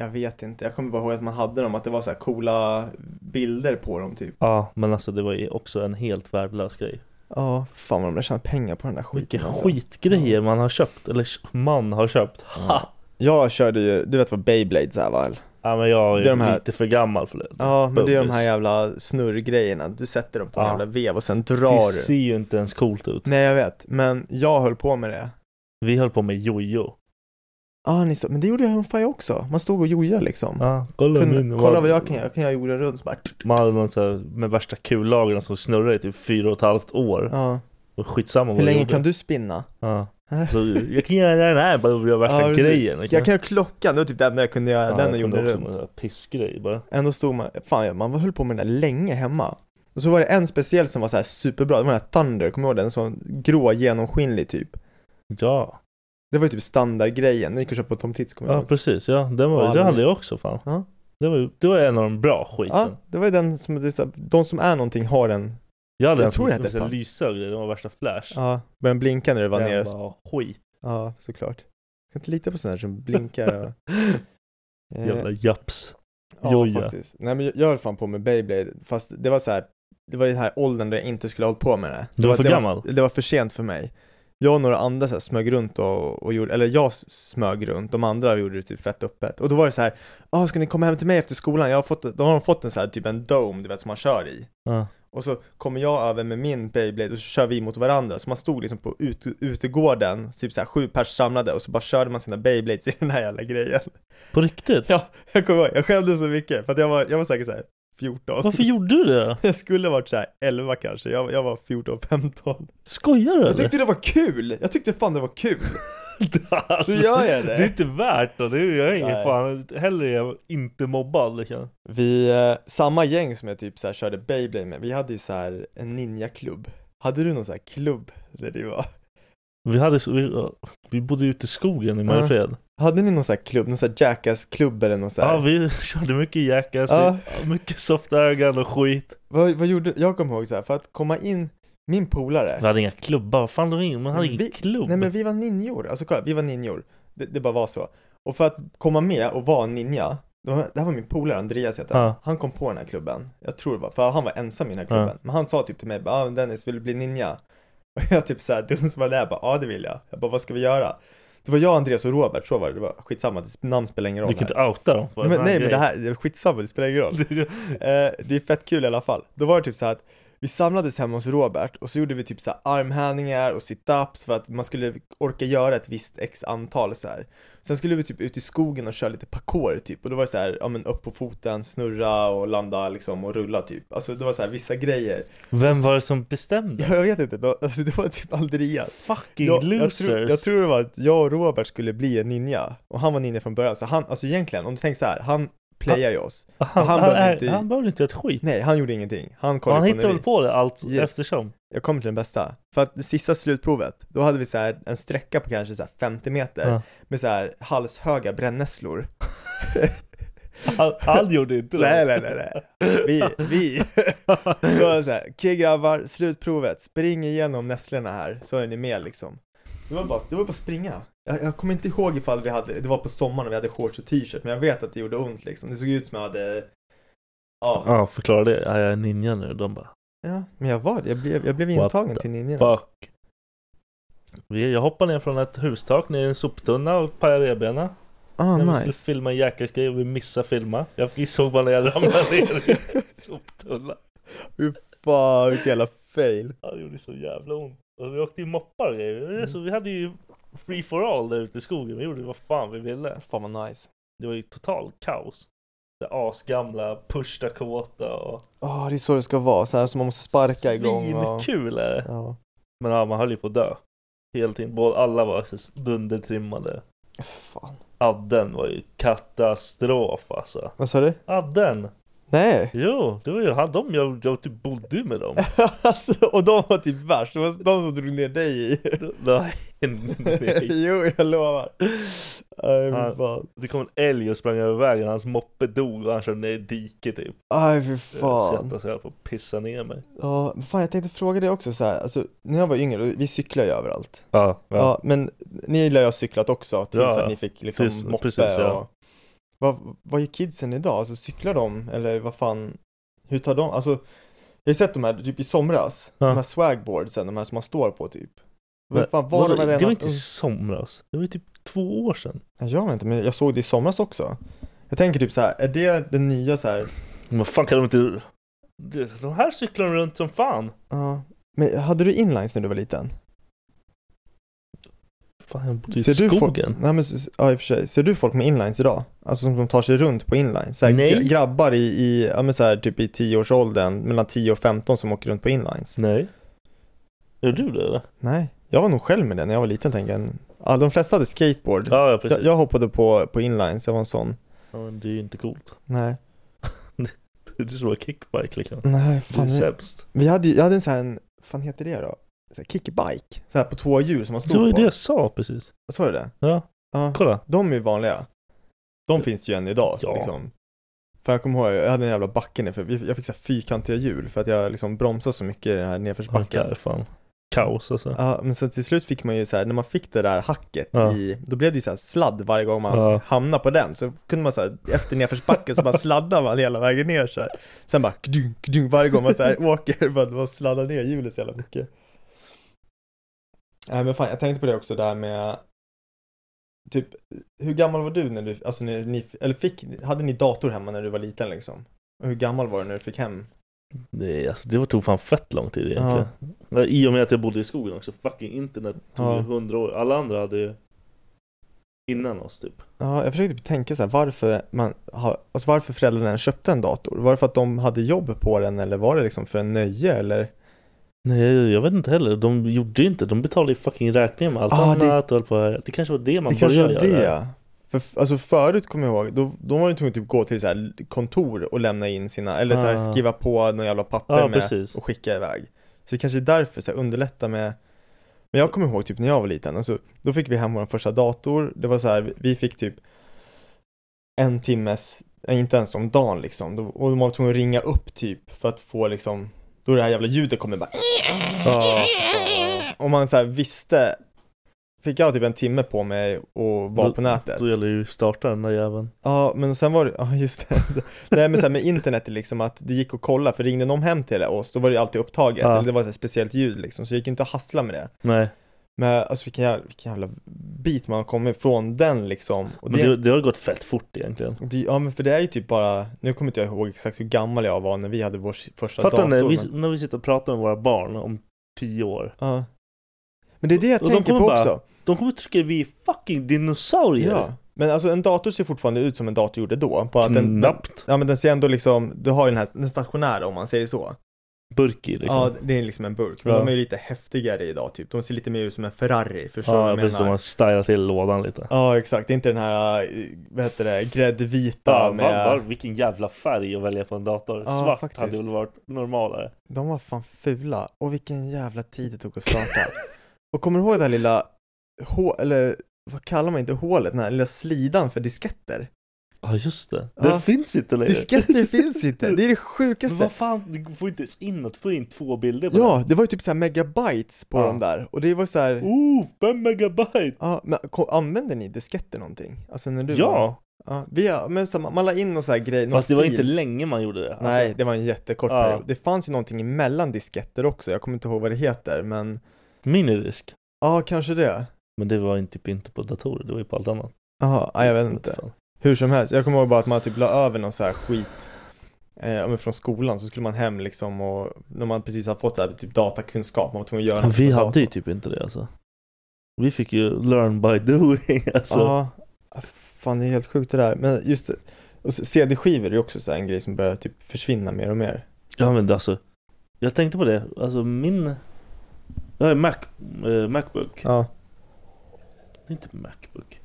Jag vet inte, jag kommer bara ihåg att man hade dem, att det var så här coola bilder på dem typ.
Ja, men alltså det var ju också en helt värdelös grej.
Ja, fan vad de där tjänade pengar på den där skiten
Vilka
alltså.
skitgrejer man har köpt, eller man har köpt. Ha!
Jag körde ju, du vet vad Beyblades är väl?
Ja, men jag är,
Det är de här-
lite för gammal för det.
Ja, men det är de
Bubbles.
här jävla snurrgrejerna, du sätter dem på en
Ja.
jävla vev och sen
Det
drar
ser
du.
ju inte ens coolt ut.
Nej jag vet, men jag höll på med det.
Vi höll på med jojo.
Mm. Ja, ni så, men det gjorde jag fan jag också. Man stod och jojade liksom.
Ja, kolla, min-
Kunde, kolla vad jag kan göra, kan jag jorden runt så bara...
Man hade någon så här, med värsta kullagren som snurrade i typ fyra och ett halvt år.
Ja.
Och skitsamma
Hur
vad jag
länge
gjorde.
kan du spinna?
Ja. Så, jag kan göra den här bara för att göra värsta
Ja, precis.
grejen. liksom.
Jag kan göra klockan, det var typ det enda jag kunde göra, den och jorden runt.
runt. Pissgrej bara.
Ändå stod man, fan ja, man höll på med den där länge hemma. Och så var det en speciell som var så här superbra, det var den här Thunder, kommer du ihåg den? Sån grå, genomskinlig typ.
Ja,
Det var ju typ standardgrejen, den gick att köpa på Tom Tits kommer jag
ja
ihåg.
precis. Ja, den var,
Ja,
det
men-
hade jag också fan.
Ja.
Det, var, ju- det var en av de bra skiten.
Ja, det var ju den som, det är så här, de som är någonting har en,
Jag hade typ
Jag
en
tror
som
det hette
en
fan.
lyssögre, den var värsta flash.
ja, började blinka när det var
den
nere.
var skit.
Ja, såklart. Jag kan inte lita på sådana här som blinkar och... Eh,
Jävla japs.
Ja
Joja.
faktiskt. Nej men jag- jag höll fan på med Beyblade, fast det var så här. Det var i den här åldern där jag inte skulle ha hållit på med det.
Du
det
var för
det
gammal.
Var, det var för sent för mig. jag och några andra så här, smög runt och, och gjorde, eller jag smög runt, de andra gjorde det typ fett öppet. Och då var det så här, ah, ska ni komma hem till mig efter skolan? Jag har fått, då har de fått en så här, typ en dome, du vet, som man kör i.
Ja.
Och så kommer jag över med min Beyblade och så kör vi mot varandra. Så man stod liksom på ut, utegården, typ så här sju pers samlade och så bara körde man sina Beyblades i den här jävla grejen.
På riktigt?
Ja, jag kommer ihåg, jag skämdes så mycket för att jag var, jag var säkert så här 14.
Varför gjorde du det?
Jag skulle ha varit så här 11 kanske, jag, jag var 14, 15.
Skojar du
Jag
eller?
tyckte det var kul! Jag tyckte fan det var kul!
alltså,
Så gör jag det.
Det är inte värt det. det är, jag är ingen
Nej.
fan. Hellre är jag inte mobbad liksom.
Vi, eh, samma gäng som jag typ så här körde Beyblade med, vi hade ju så här en ninjaklubb. Hade du någon så här klubb där det var?
Vi, hade, så- vi, vi bodde ute i skogen i Mariefred.
Hade ni någon så här klubb, någon så här Jackass-klubb eller något så här?
Ja, vi körde mycket Jackass,
Ja.
vi- mycket softögon och skit.
Vad, vad gjorde, jag kommer ihåg så här, för att komma in, min polare
Vi hade inga klubbar, vad fan det var ingen, man hade
Nej,
ingen
vi-
klubb.
Nej men vi var ninjor, alltså kolla, vi var ninjor. Det, det bara var så. Och för att komma med och vara en ninja, det var- det här var min polare Andreas heter han.
Ja.
Han kom på den här klubben, jag tror det var, för han var ensam i den här klubben.
Ja.
Men han sa typ till mig, bara, ah, Dennis vill du bli ninja? Och jag typ såhär dum som jag är, bara ja det vill jag. Jag bara vad ska vi göra? Det var jag, Andreas och Robert, så var det, det var skitsamma, det namn spelar ingen roll.
du kan
här.
inte outa dem. för
Nej, men,
den
nej men det
grejen.
här, det är skitsamma, det spelar ingen roll. Eh, det är fett kul i alla fall. Då var det typ så här att vi samlades hemma hos Robert och så gjorde vi typ så här armhävningar och sit-ups för att man skulle orka göra ett visst x antal så här. Sen skulle vi typ ut i skogen och köra lite parkour typ och då var det så här, ja men upp på foten, snurra och landa liksom och rulla typ. Alltså det var så här vissa grejer.
Vem var det som bestämde?
Jag vet inte, då, alltså, det var typ Andreas.
Fucking
Jag, jag,
losers!
tror, jag tror det var att jag och Robert skulle bli en ninja och han var ninja från början så han, alltså egentligen om du tänker så här, han playar ju oss.
han,
han
han,
behövde
är,
inte-
han behövde inte göra ett skit.
Nej, han gjorde ingenting. Han kollade
han
på
hittade
när
väl
vi-
på det allt
Yes.
eftersom.
Jag kommer till den bästa. För att det sista slutprovet, då hade vi så här en sträcka på kanske så här 50 meter
Ja.
med så här halshöga brännässlor.
Han, han gjorde inte det.
Nej, nej, nej, nej. Vi, vi. Då var det så här, okej grabbar, slutprovet, spring igenom nässlorna här så är ni med liksom. Det var bara, det var bara springa. Jag, jag kommer inte ihåg ifall vi hade, det var på sommaren och vi hade shorts och t-shirt, men jag vet att det gjorde ont liksom. Det såg ut som jag hade, ja,
Ja, förklara det. Ja, jag är ninja nu. De bara,
ja men jag var det. Jag blev, jag blev
What
intagen
the
till ninjorna.
fuck. Vi- Jag hoppade ner från ett hustak ner i en soptunna och pajade revbenen.
Ah,
när vi
nice.
skulle filma en Jackass-grej och vi missade filma. Jag vi såg bara när jag ramlade ner i en soptunna.
Fan, vilken jävla fail.
Ja, det gjorde så jävla ont. Och vi åkte i moppar och grejer. Så vi hade ju free for all där ute i skogen. Vi gjorde vad fan vi ville.
Fan vad nice.
Det var ju total kaos. Det asgamla, pushtakåta och...
Ja, Ah, det är så det ska vara, så här som man måste sparka igång och...
Svinkul är det.
Ja.
Men ja, man höll ju på att dö. Hela tiden. Både- Alla var så dundertrimmade.
Äh, Fan.
Adden var ju katastrof alltså.
Vad sa du?
Adden!
Nej!
Jo, det var ju han, de jag, jag typ bodde ju med dem.
alltså, och de var typ värst, det var de som drog ner dig i.
Nej, nej.
jo, jag lovar. Aj,
Ja.
fy fan.
Det kom en älg och sprang över vägen, hans moppe dog och han körde ner i diket typ.
Aj, fy
Jag
fan.
skrattade så jag höll på att pissa ner mig.
Ja, men fan jag tänkte fråga dig också så här. alltså när jag var yngre, vi cyklar ju överallt.
Ja,
Ja, men ni lär ju ha cyklat också tills
Ja,
att ni fick liksom
precis-
moppe
precis,
och...
ja.
Vad, vad gör kidsen idag? Alltså cyklar de eller vad fan, hur tar de, alltså jag har sett de här typ i somras,
Ja.
de här swagboardsen, de här som man står på typ. Vad fan var
Vadå?
det varenda...
det var inte i somras, det var ju typ två år sedan.
Nej, Jag vet inte, men jag såg det i somras också. Jag tänker typ så här, är det den nya så här,
Men vad fan kan de inte... Det- De här cyklar de runt som fan.
ja, men hade du inlines när du var liten?
Fan, jag bodde i
folk,
skogen.
nej men, s- ja, i och för sig, ser du folk med inlines idag? Alltså som, som tar sig runt på inlines? Så här,
Nej.
gra- grabbar i, i, ja men så här, typ i 10-årsåldern, mellan 10 och 15 som åker runt på inlines?
Nej. Gör du det eller?
Nej, jag var nog själv med det när jag var liten tänker jag. Ja, de flesta hade skateboard.
Ja, ja
jag,
precis.
jag hoppade på, på inlines, jag var en sån.
Ja, men det är ju inte coolt.
Nej,
Det är som en kickbike liksom.
nej
Det är
fan. vi-
sämst.
Vi hade, ju- jag hade en sån här, en- fan heter det då? Så här kickbike, så här på två hjul som man stod
Det var ju
på.
det jag sa precis.
Sa du det?
Ja,
Ja.
kolla.
De är ju vanliga. De finns ju än idag
Ja.
liksom. För jag kommer ihåg, jag hade en jävla backe ner för jag fick så här fyrkantiga hjul för att jag liksom bromsade så mycket i den här
Backar.
nedförsbacken.
fan. Kaos alltså.
Ja, men så till slut fick man ju så här, när man fick det där hacket
Ja.
i, då blev det ju så här sladd varje gång man
Ja.
hamnade på den. Så kunde man så här, efter nedförsbacken så bara sladdade man hela vägen ner så här. Sen bara kdunk, kdunk, varje gång man så här åker, bara, man sladdar ner hjulet så jävla mycket. Nej men fan, jag tänkte på det också där med Typ, hur gammal var du när du, alltså när ni, eller fick, hade ni dator hemma när du var liten liksom? Och hur gammal var du när du fick hem?
Det, är- alltså, det var- tog fan fett lång tid egentligen. Men I och med att jag bodde i skogen också. Fucking internet tog ju
Ja.
hundra år. Alla andra hade ju innan oss typ.
Ja, jag försökte tänka så här, varför man har, alltså varför föräldrarna ens köpte en dator? Var det för att de hade jobb på den eller var det liksom för en nöje eller?
Nej, jag vet inte heller. De gjorde ju inte. De betalade ju fucking räkningar med allt
Ah, det-
annat och höll på här. Det kanske var det man
det kanske var
började
det.
göra.
ja. För f- alltså förut kommer jag ihåg, då, då var det tvungen att typ gå till så här kontor och lämna in sina, eller så här
Ah.
skriva på några jävla papper
Ja,
med
precis.
och skicka iväg. Så det kanske är därför, så här, underlätta med Men jag kommer ihåg typ när jag var liten, alltså, då fick vi hem vår första dator, det var så här, vi fick typ en timmes, eh, inte ens om dagen liksom, Då- och man var tvungen att ringa upp typ för att få liksom, då det här jävla ljudet kommer bara
Ja.
Om man så här visste Fick jag typ en timme på mig och var
Då-
på nätet
Då gäller det ju att starta den där jäveln.
Ja men sen var det, ja just det Nej men så här med internet är liksom att det gick att kolla för ringde någon hem till oss då var det ju alltid upptaget
Ja.
eller det var så här speciellt ljud liksom så det gick ju inte att hassla med det
Nej,
Men alltså vilken jävla, vilken jävla bit man har kommit ifrån den liksom och
men
det,
det, det har gått fett fort egentligen.
och det, Ja men för det är ju typ bara, nu kommer inte jag ihåg exakt hur gammal jag var när vi hade vår s- första
Fatta
dator
när vi,
men,
när vi sitter och pratar med våra barn om tio år.
ja. men det är det jag
Och de
tänker på
kommer bara-
också
De kommer tycka vi är fucking dinosaurier.
Ja, men alltså en dator ser fortfarande ut som en dator gjorde då. Bara att den, den,
Knappt.
ja, men den ser ändå liksom, du har ju den här den stationära om man säger så.
Burk i liksom.
Ja, det är liksom en burk. Men
Ja.
de är ju lite häftigare idag typ. De ser lite mer ut som en Ferrari, förstår du
Ja,
vad
ja
jag
precis.
menar?
De har stylat till lådan lite.
Ja, exakt. Det är inte den här, eh, vad heter det, gräddvita
Ja,
med...
var, var, vilken jävla färg att välja på en dator.
Ja,
Svart
faktiskt.
hade väl varit normalare.
De var fan fula. Och vilken jävla tid det tog att starta. och kommer du ihåg det här lilla hå... eller vad kallar man inte hålet? Den här lilla slidan för disketter.
Ja just det.
Ja.
Den finns inte längre.
Disketter finns inte. Det är det sjukaste.
Men vad fan, du får inte ens in att få in två bilder på
Ja, det var ju typ såhär megabytes på
Ja.
dem där och det var såhär,
den. Oh, fem megabyte!
ja, men ko- använde ni disketter någonting? Alltså när du var,
ja!
ja, vi, har- men så, man man la in någon sån här grej, någon
Fast det var
fil.
inte länge man gjorde det. Alltså,
Nej, det var en jättekort
Ja.
period. Det fanns ju någonting emellan disketter också, jag kommer inte ihåg vad det heter, men
Minidisk.
ja, kanske det.
Men det var ju typ inte på datorer, det var ju på allt annat.
Jaha, ja, jag vet inte.
fan.
Hur som helst, jag kommer ihåg bara att man typ la över någon så här skit eh, ja, men från skolan så skulle man hem liksom och när man precis hade fått så här, typ datakunskap, man var tvungen att göra
Men vi
på
hade ju
datorn.
typ inte det alltså. Vi fick ju learn by doing alltså.
Ja, ah, fan det är helt sjukt det där. Men just det, och så- CD-skivor är ju också så här en grej som börjar typ försvinna mer och mer.
Ja men alltså. Jag tänkte på det, alltså min... Jag har en Mac, eh, Macbook.
Ja.
Inte Macbook.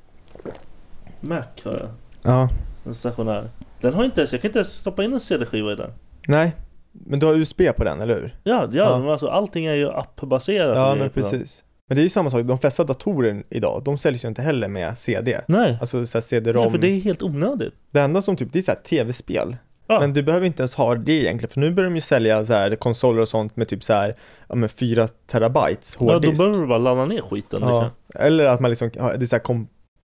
Mac har jag.
Ja.
En stationär. Den har inte ens, jag kan inte ens stoppa in en CD-skiva i den.
Nej, men du har USB på den, eller hur?
Ja, ja,
Ja.
Men alltså allting är ju appbaserat.
Ja,
i-
men
på den.
precis. Men det är ju samma sak, de flesta datorer idag, de säljs ju inte heller med CD.
Nej.
Alltså så
Nej,
här CD-ROM.
för det
det...
är helt onödigt.
enda som typ, det är så här tv-spel.
Ja.
Men du behöver inte ens ha det egentligen, för nu börjar de ju sälja så här konsoler och sånt med typ så här, ja men 4 terabytes
Ja,
hårddisk.
då behöver du bara ladda ner skiten
Ja,
liksom.
eller att man liksom, ja, det är så här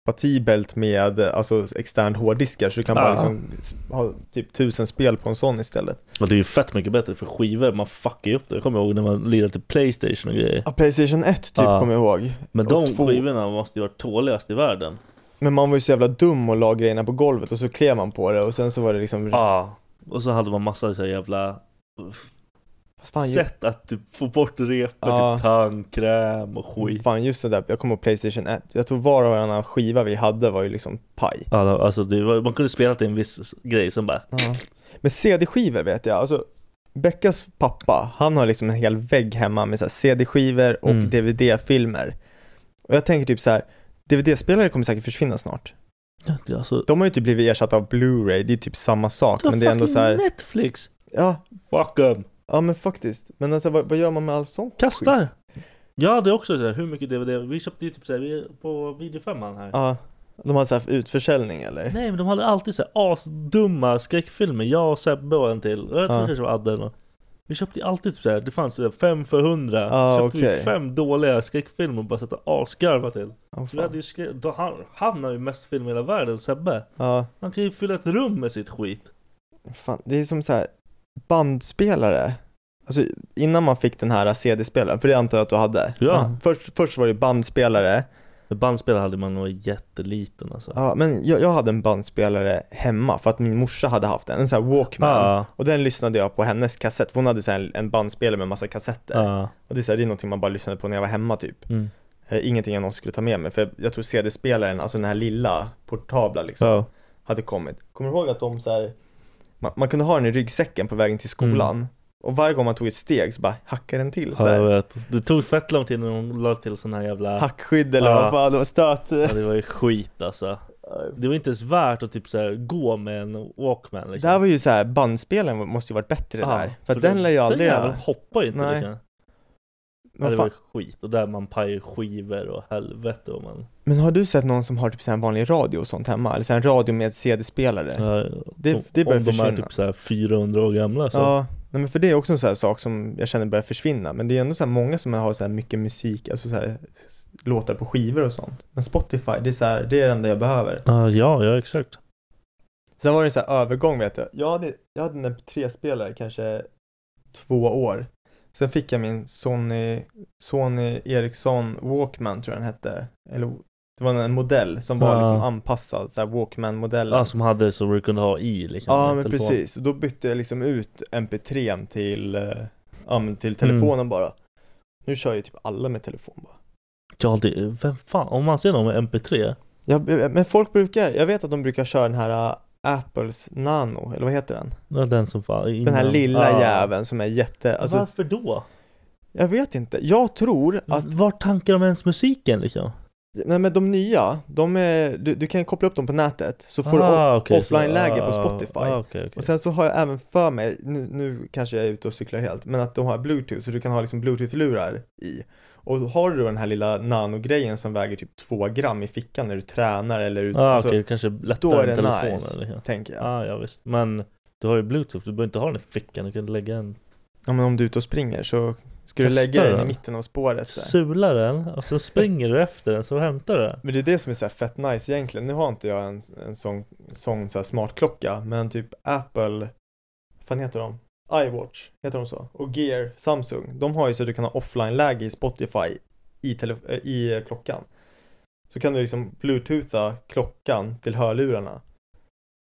kompatibelt med alltså extern hårddiskar så du kan bara
Ja.
liksom ha typ tusen spel på en sån istället.
Och det är ju fett mycket bättre för skivor, man fuckar ju upp det. Jag kommer ihåg när man lirade till Playstation och grejer.
Ja, Playstation 1 typ
Ja.
kommer jag ihåg.
Men
Och
de
två.
skivorna måste ju vara tåligast i världen.
Men man var ju så jävla dum och la grejerna på golvet och så klev man på det och sen så var det liksom,
Ja. Och så hade man massa så här jävla
fast fan, ju,
sätt att typ få bort repor,
Ja.
typ tandkräm och skit.
Mm, fan just det där, jag kommer ihåg Playstation 1. Jag tror var och varannan skiva vi hade var ju liksom paj.
Ja, då, alltså det var, man kunde spela till en viss grej som bara
Ja. Men CD-skivor vet jag, alltså Beckas pappa, han har liksom en hel vägg hemma med så här CD-skivor och
Mm.
DVD-filmer. Och jag tänker typ så här, DVD-spelare kommer säkert försvinna snart.
"Ja, alltså,
De har ju typ blivit ersatta av Blu-ray, det är typ samma sak,
du har
men det är ändå
fucking
så här,
Netflix!
ja,
Fuck em.
ja men faktiskt. Men alltså vad, vad gör man med all sån skit?
Kastar! Jag hade också så här, hur mycket DVD, vi köpte ju typ så här, vi- på videofemman här
Ja, de har så här utförsäljning eller?
Nej men de hade alltid så här asdumma skräckfilmer, jag och Sebbe och en till, jag tror
Ja.
kanske det var Adde eller nåt. Vi köpte ju alltid typ så här, det fanns så här fem för hundra,
Ja,
köpte
okej.
vi fem dåliga skräckfilmer och bara satt och asgarva till
Ja,
Så vi hade
fan.
ju skrä- då, han, han har ju mest film i hela världen, Sebbe
ja,
Han kan ju fylla ett rum med sitt skit
fan. Det är som så här, bandspelare. alltså, innan man fick den här CD-spelaren, för det antar jag att du hade.
Ja.
först, först var det bandspelare,
Bandspelare hade man nog jätteliten alltså.
ja, men jag, jag hade en bandspelare hemma för att min morsa hade haft en, en sån här Walkman.
Ja.
Och den lyssnade jag på hennes kassett, för hon hade så här en bandspelare med massa kassetter.
Ja.
Och det är, så här, det är någonting man bara lyssnade på när jag var hemma typ.
Mm.
Eh, Ingenting jag någonsin skulle ta med mig, för jag tror CD-spelaren, alltså den här lilla portabla liksom,
Ja.
hade kommit. Kommer du ihåg att de så här, man, man kunde ha den i ryggsäcken på vägen till skolan och varje gång man tog ett steg så bara hackade den till så
Mm. Ja, jag
här.
vet. Det tog fett lång tid när de la till sån här jävla...
Hackskydd eller
Ja.
vad fan, det var stöt.
Ja, det var ju skit alltså. Det var inte ens värt att typ så här, gå med en Walkman
Det
liksom.
här var ju så här, bandspelaren måste ju varit bättre
Ja,
där. För att
det-
den lär ju aldrig...
Den jäveln hoppar ju inte
Nej.
liksom. Ja,
Vad
det
fan-
var ju skit. Och där man pajar skivor och helvete och man...
Men har du sett någon som har typ så här en vanlig radio och sånt hemma? Eller så här en radio med CD-spelare? Ja,
Ja,
det
om-
börjar
Om de är
försvinna.
typ så här 400 år gamla så.
nej, men för det är också en sån här sak som jag känner börjar försvinna. Men det är ändå så här många som har så här mycket musik, alltså så här s- låtar på skivor och sånt. Men Spotify, det är så här, det är det enda jag behöver.
Ja, ja, ja exakt.
Sen var det en sån här övergång vet jag. Jag hade, jag hade en MP3-spelare kanske två år. Sen fick jag min Sony, Sony Ericsson Walkman tror jag den hette. Eller det var en modell som var
Ja.
liksom anpassad, så här Walkman-modellen.
Ja, som hade så du kunde ha i liksom.
Ja
i
men
telefonen.
precis, och då bytte jag liksom ut mp3 n till, eh, ja, men
Mm.
till telefonen bara Nu kör ju typ alla med telefon bara
Ja, det, vem fan, om man ser någon med MP3.
jag, jag- Men folk brukar, jag vet att de brukar köra den här eh, Apples Nano, eller vad heter den?
Det var den som fan. Innan.
Den här lilla
Ja.
jäveln som är jätte, alltså
Varför då?
jag vet inte, jag
Mm.
tror att,
Var tankar de ens musiken liksom?
nej men de nya, de är, du, du kan koppla upp dem på nätet så får du off-
Ah, okej, så-
offline-läge på
ah,
Spotify
ah, okej, okej.
Och sen så har jag även för mig, nu, nu kanske jag är ute och cyklar helt, men att de har bluetooth så du kan ha liksom bluetooth-lurar i. Och har du den här lilla nanogrejen som väger typ 2 gram i fickan när du tränar eller ut, alltså,
ah, okej, det kanske är lättare
då är
än
det
telefonen
nice,
liksom.
tänker jag.
Ja, ja visst. Men du har ju bluetooth, du behöver inte ha den i fickan, du kan lägga den,
Ja men om du är ute och springer så ska du
Testa
lägga den i
den.
mitten av spåret så. här.
sula den och så springer du efter den så hämtar du den.
Men det är det som är så här fett nice egentligen, nu har inte jag en, en sån, sån så här smart klocka, men typ Apple, vad fan heter de? iWatch, heter de så? Och Gear, Samsung, de har ju så att du kan ha offline-läge i Spotify i, tele- eh, i eh, klockan. Så kan du liksom bluetootha klockan till hörlurarna.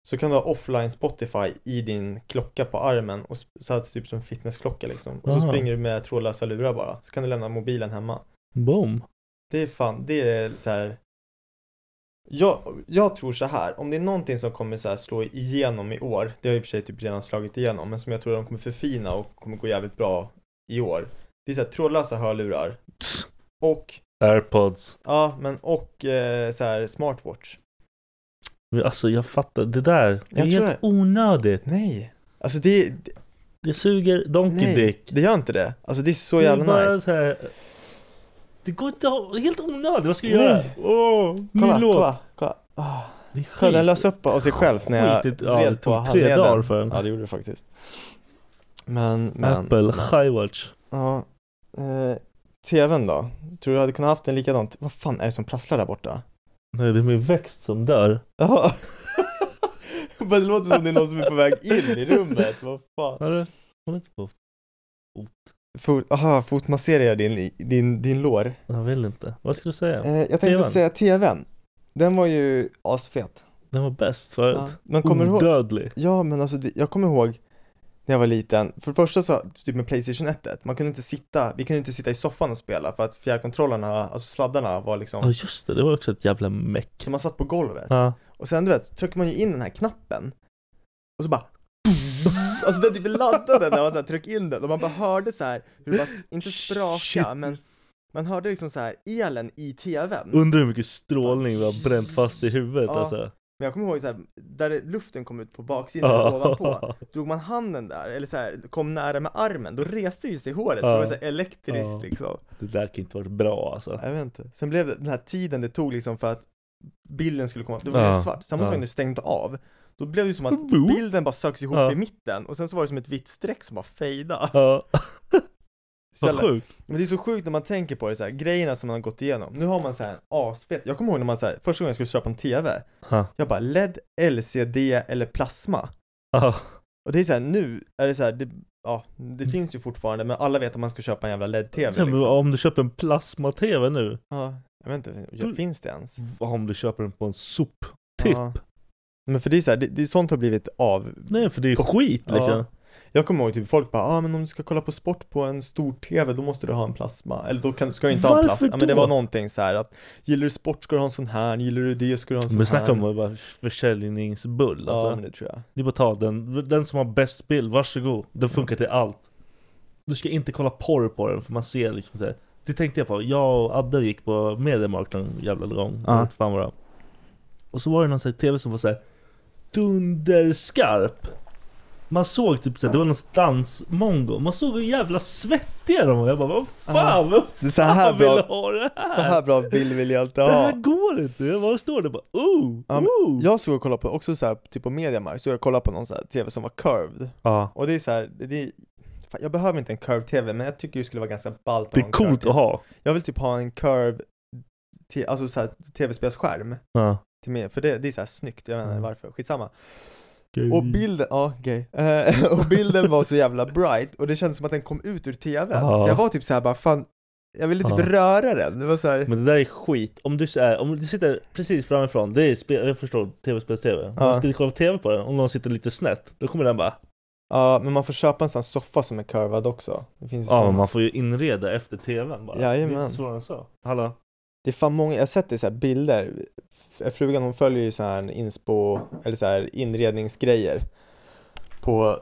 Så kan du ha offline Spotify i din klocka på armen och sp- så här typ som fitnessklocka liksom. Och så
Aha.
springer du med trådlösa lurar bara, så kan du lämna mobilen hemma.
Boom!
Det är fan, det är så här. Jag, jag tror så här, om det är någonting som kommer så här slå igenom i år, det har i och för sig typ redan slagit igenom, men som jag tror de kommer förfina och kommer gå jävligt bra i år. Det är så här trådlösa hörlurar och,
Airpods.
ja men och eh, så här smartwatch.
Men Alltså jag fattar, det där, det är
Jag tror
helt onödigt.
Nej, alltså det, det
Det suger donkey
nej,
dick.
det gör inte det. Alltså det är så
Det är
jävla
bara
nice.
så här- Det går inte att ha, det är helt onödigt, vad ska jag göra?
Nej.
Åh,
Kolla,
ny låt!
kolla, kolla. Ah,
Det är
kolla, den
skit.
lös upp av sig själv när jag
Skitigt, ja, det
vred på
tog tre
handleden.
dagar för den.
Ja det gjorde det faktiskt. Men, men.
Apple,
men.
Highwatch.
Ja, eh, TVn då? Tror du hade kunnat haft en likadan? Vad fan är det som prasslar där borta?
Nej, det är min växt som dör.
Jaha. Men det låter som det är någon som är på väg in i rummet, vad fan?
Hörru, håll inte på.
Fot, aha, fotmasserar jag din, din, din lår?
Jag vill inte. Vad ska du
Eh,
säga?
jag tänkte
TVn.
säga TVn. Den var ju asfet.
Den var bäst förut.
Ja. Men kommer du ihåg?
Odödlig.
Ja, men alltså det, jag kommer ihåg när jag var liten, för det första så, typ med Playstation 1, man kunde inte sitta, vi kunde inte sitta i soffan och spela för att fjärrkontrollerna, alltså sladdarna var
Ja
liksom,
just det, det var också ett jävla meck.
så man satt på golvet.
Ja.
Och sen du vet, så trycker man ju in den här knappen Och så bara Alltså den typ laddade när man så här, tryckte in den och man bara hörde så här hur det bara, inte spraka
Shit.
men Man hörde liksom så här elen i tvn
Undrar hur mycket strålning vi har bränt fast i huvudet
Ja.
alltså.
Men jag kommer ihåg så här, där luften kom ut på baksidan och ovanpå
Ja.
Drog man handen där, eller så här, kom nära med armen, då reste ju sig håret
Ja.
för det var så här elektriskt
Ja.
liksom
Det där kan inte varit bra alltså.
Jag vet inte, sen blev det den här tiden det tog liksom för att bilden skulle komma, det var
Ja.
helt svart, samma sak
Ja.
när du stängde av Då blev det ju som att
Boop.
bilden bara söks ihop
Ja.
i mitten och sen så var det som ett vitt streck som bara fejda
Ja, vad
Sällan-
sjukt.
Men det är så sjukt när man tänker på det så här, grejerna som man har gått igenom Nu har man så här en asfet, jag kommer ihåg när man så här, första gången jag skulle köpa en TV
Ja.
Jag bara LED, LCD eller plasma
Ja.
Och det är så här, nu är det så här, det, ja, det
Mm.
finns ju fortfarande men alla vet att man ska köpa en jävla LED-TV
Liksom.
liksom.
Om du köper en plasma-tv nu,
Ja, jag vet inte, ja, finns det ens?
vad om du köper den på en soptipp?
Ja. Men för det är så här, det, det, sånt har blivit av.
Nej, för det är skit liksom.
Ja. Jag kommer ihåg typ folk bara, ah, men om du ska kolla på sport på en stor TV då måste du ha en plasma, eller då kan, ska du inte ha en
Varför
plasma. Ja, men det
då?
var någonting så här att, gillar du sport ska du ha en sån här, gillar du det ska du ha en sån
Men
här.
snacka om bara försäljningsbull
Ja,
alltså.
men det tror jag.
Det är bara att ta den, den som har bäst bild, varsågod. Den funkar till allt. Du ska inte kolla porr på den för man ser liksom så här. Det tänkte jag på, jag och Adde gick på Mediamarkt någon jävla gång,
Ja.
jag vet fan vad det var. Och så var det någon sån här TV som var så här dunderskarp. Man såg typ såhär, det var någon sån dansmongo, man såg hur jävla svettiga de var. Jag bara vad fan, vem
Det är så här
fan vill
bra,
ha det här?
så här bra bild vill jag inte
Det här
ha.
går inte! Jag bara står där och bara oh,
Ja, men
oh!
Jag såg och kollade på, också så här, typ på Mediamarkt, så jag kollade på någon så här TV som var curved.
Ja.
Och det är så här, det- det är, fan, jag behöver inte en curved TV, men jag tycker det skulle vara ganska ballt att
Det
ha
är
en curved
coolt
TV.
att ha.
Jag vill typ ha en curved, te- alltså så här tv-spelsskärm
Ja.
till mig, för det, det är så här snyggt, jag vet inte
Mm.
varför, skitsamma. Och bilden, ja gay. Eh, och bilden var så jävla bright och det kändes som att den kom ut ur tvn.
Ja.
Så jag var typ så här bara fan, jag ville typ
Ja.
röra den. Det var så här,
Men det där är skit. Om du, så är, om du sitter precis framifrån, det är spel, jag förstår, tv-spels-tv. Om
Ja.
man ska kolla på tv på den, om någon sitter lite snett, då kommer den bara
ja men man får köpa en sån här soffa som är curvad också. Det finns ju
Ja,
såna.
"Ah, men man får ju inreda efter tvn bara.
Jajamän.
Det är inte svårare än så. Hallå?
Det är fan många, jag har sett det i så här bilder. F- eh, Frugan hon följer ju så här inspo, eller så här inredningsgrejer på,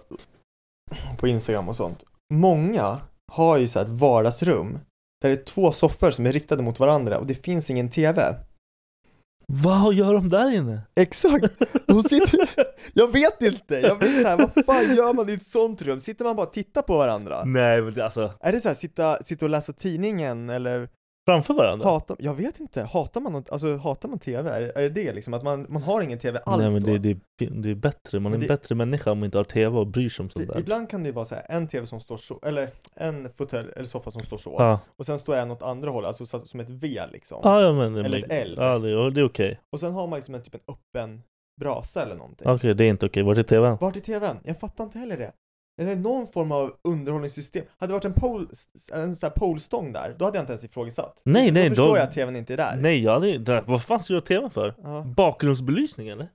på Instagram och sånt. Många har ju så här ett vardagsrum där det är två soffor som är riktade mot varandra och det finns ingen TV.
Vad gör de där inne?
Exakt! De sitter, jag vet inte! Jag blir så här, vad fan gör man i ett sånt rum? Sitter man bara och tittar på varandra?
Nej men det, alltså,
Är det så här, sitta, sitta och läsa tidningen eller
framför varandra?
Hatar, jag vet inte, hatar man, något- alltså, hatar man TV? Är, är det det liksom? Att man, man har ingen TV alls
Nej men
då?
det, det, är fin- det är bättre, man är
Men
en
det-
bättre människa om man inte har tv och bryr sig om Typ sånt
Det-
där.
Ibland kan det ju vara så här, en TV som står så, eller en fåtölj eller soffa som står så,
Ja,
och sen står en åt andra hållet, alltså så, som ett V liksom.
ja ja, men,
Eller ett
men,
L.
ja, det, ja, det är okej.
Och sen har man liksom en, typ en öppen brasa eller någonting.
Okej, det är inte okej. Vart är tvn?
Vart är TVn? Jag fattar inte heller det. Eller någon form av underhållningssystem. Hade det varit en, pole, en sån här polestång där, då hade jag inte ens ifrågasatt.
Nej, nej,
Då förstår
då-
jag att TVn inte är där.
Nej, jag hade, det, vad fan ska du ha tvn för?
Ja.
Bakgrundsbelysning eller?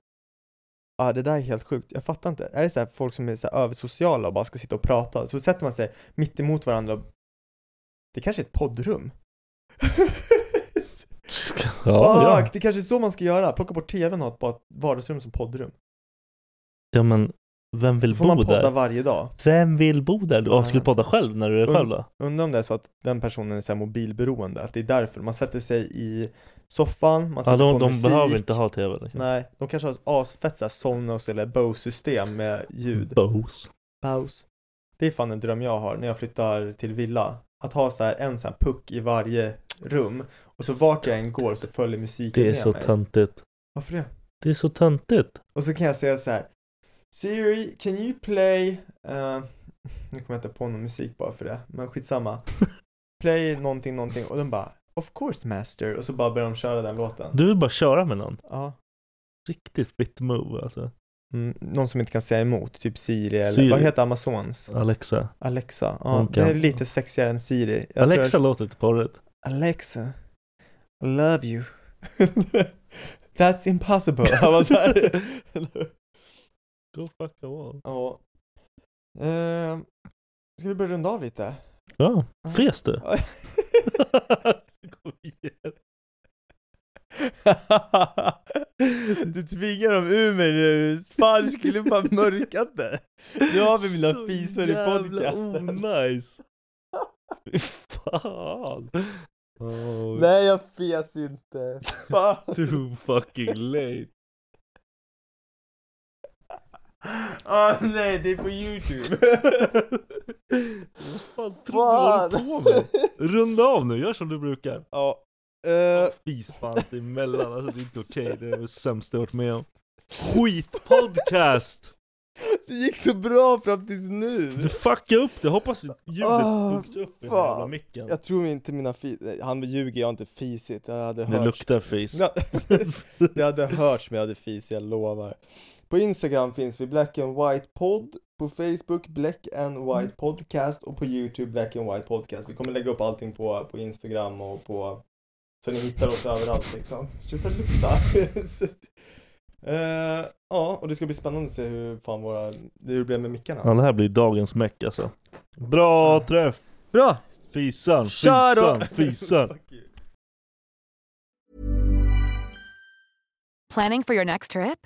Ja det där är helt sjukt, jag fattar inte. Är det så här folk som är så här översociala och bara ska sitta och prata? Så sätter man sig mitt emot varandra och... Det kanske är ett poddrum?
Ja, ja.
Fuck, Det kanske är så man ska göra, plocka bort tvn och ha ett- bara ett vardagsrum som poddrum.
ja men vem vill
Då får man
bo
podda
där?
varje dag.
Vem vill bo där? Du
Ja.
ska du podda själv när du är
Mm.
själv då?
Undrar om det är så att den personen är så här mobilberoende, att det är därför. Man sätter sig i soffan, man sätter
Ja, de
på
de
musik.
behöver inte ha tv. Liksom.
Nej, de kanske har ett asfett så här Sonos eller Bose-system med ljud.
Bose.
Paus. Det är fan en dröm jag har när jag flyttar till villa. Att ha så här en sån här puck i varje rum och så vart jag än går så följer musiken
Det är
med
så
mig.
töntigt.
Varför det?
Det är så töntigt.
Och så kan jag säga så här. Siri, can you play... eh, nu kommer jag inte på någon musik bara för det, men skitsamma. Play någonting, någonting och de bara Of course master och så bara börjar de köra den låten.
Du vill bara köra med någon.
Ja.
Riktigt fit move alltså.
Mm, någon som inte kan säga emot, typ Siri eller
Siri.
vad heter Amazons?
Alexa.
Alexa. Ja,
Hon kan.
det är lite sexigare än Siri. Jag tror jag-
Alexa låter lite porrigt.
Alexa, I love you. That's impossible. Han var så här.
Go fuck a wall.
ja. Ehm, ska vi börja runda av lite?
Ja, fes du?
Ja.
Kom igen.
du tvingar dem ur mig nu. Fan, du skulle fan mörkat det. Nu har vi mina
Så
fisar i
jävla
podcasten.
Onajs. Fy fan. Oh,
Nej, jag fes inte. Fan.
Too fucking late.
Åh Ah, nej, det är på youtube.
Vad fan tror du du håller på med? Runda av nu, gör som du brukar.
Ja. eh,
Fis fan inte emellan, alltså det är inte okej. Det är det sämsta jag varit med om. Skitpodcast!
Det gick så bra fram tills nu.
Du fuckade upp det, hoppas ljudet
Ah,
sjunks upp i den här
fan.
jävla micken.
Jag tror inte mina fis... nej, Han ljuger, jag har inte fisit. Jag hade
Det
hört.
luktar fis.
Ja, det hade hörts men jag hade fis, jag lovar. På Instagram finns vi Black and White Pod. På Facebook Black and White Podcast och på YouTube Black and White Podcast. Vi kommer lägga upp allting på, på Instagram och på så ni hittar oss överallt liksom. Sluta lukta! Eh, ja, och det ska bli spännande att se hur fan våra, hur det blev med mickarna.
Ja, det här blir dagens meck alltså. Bra
Ja.
träff!
Bra!
Fisan,
Kör då!
fisan, fisan.
Fuck you.
Planning for your next trip?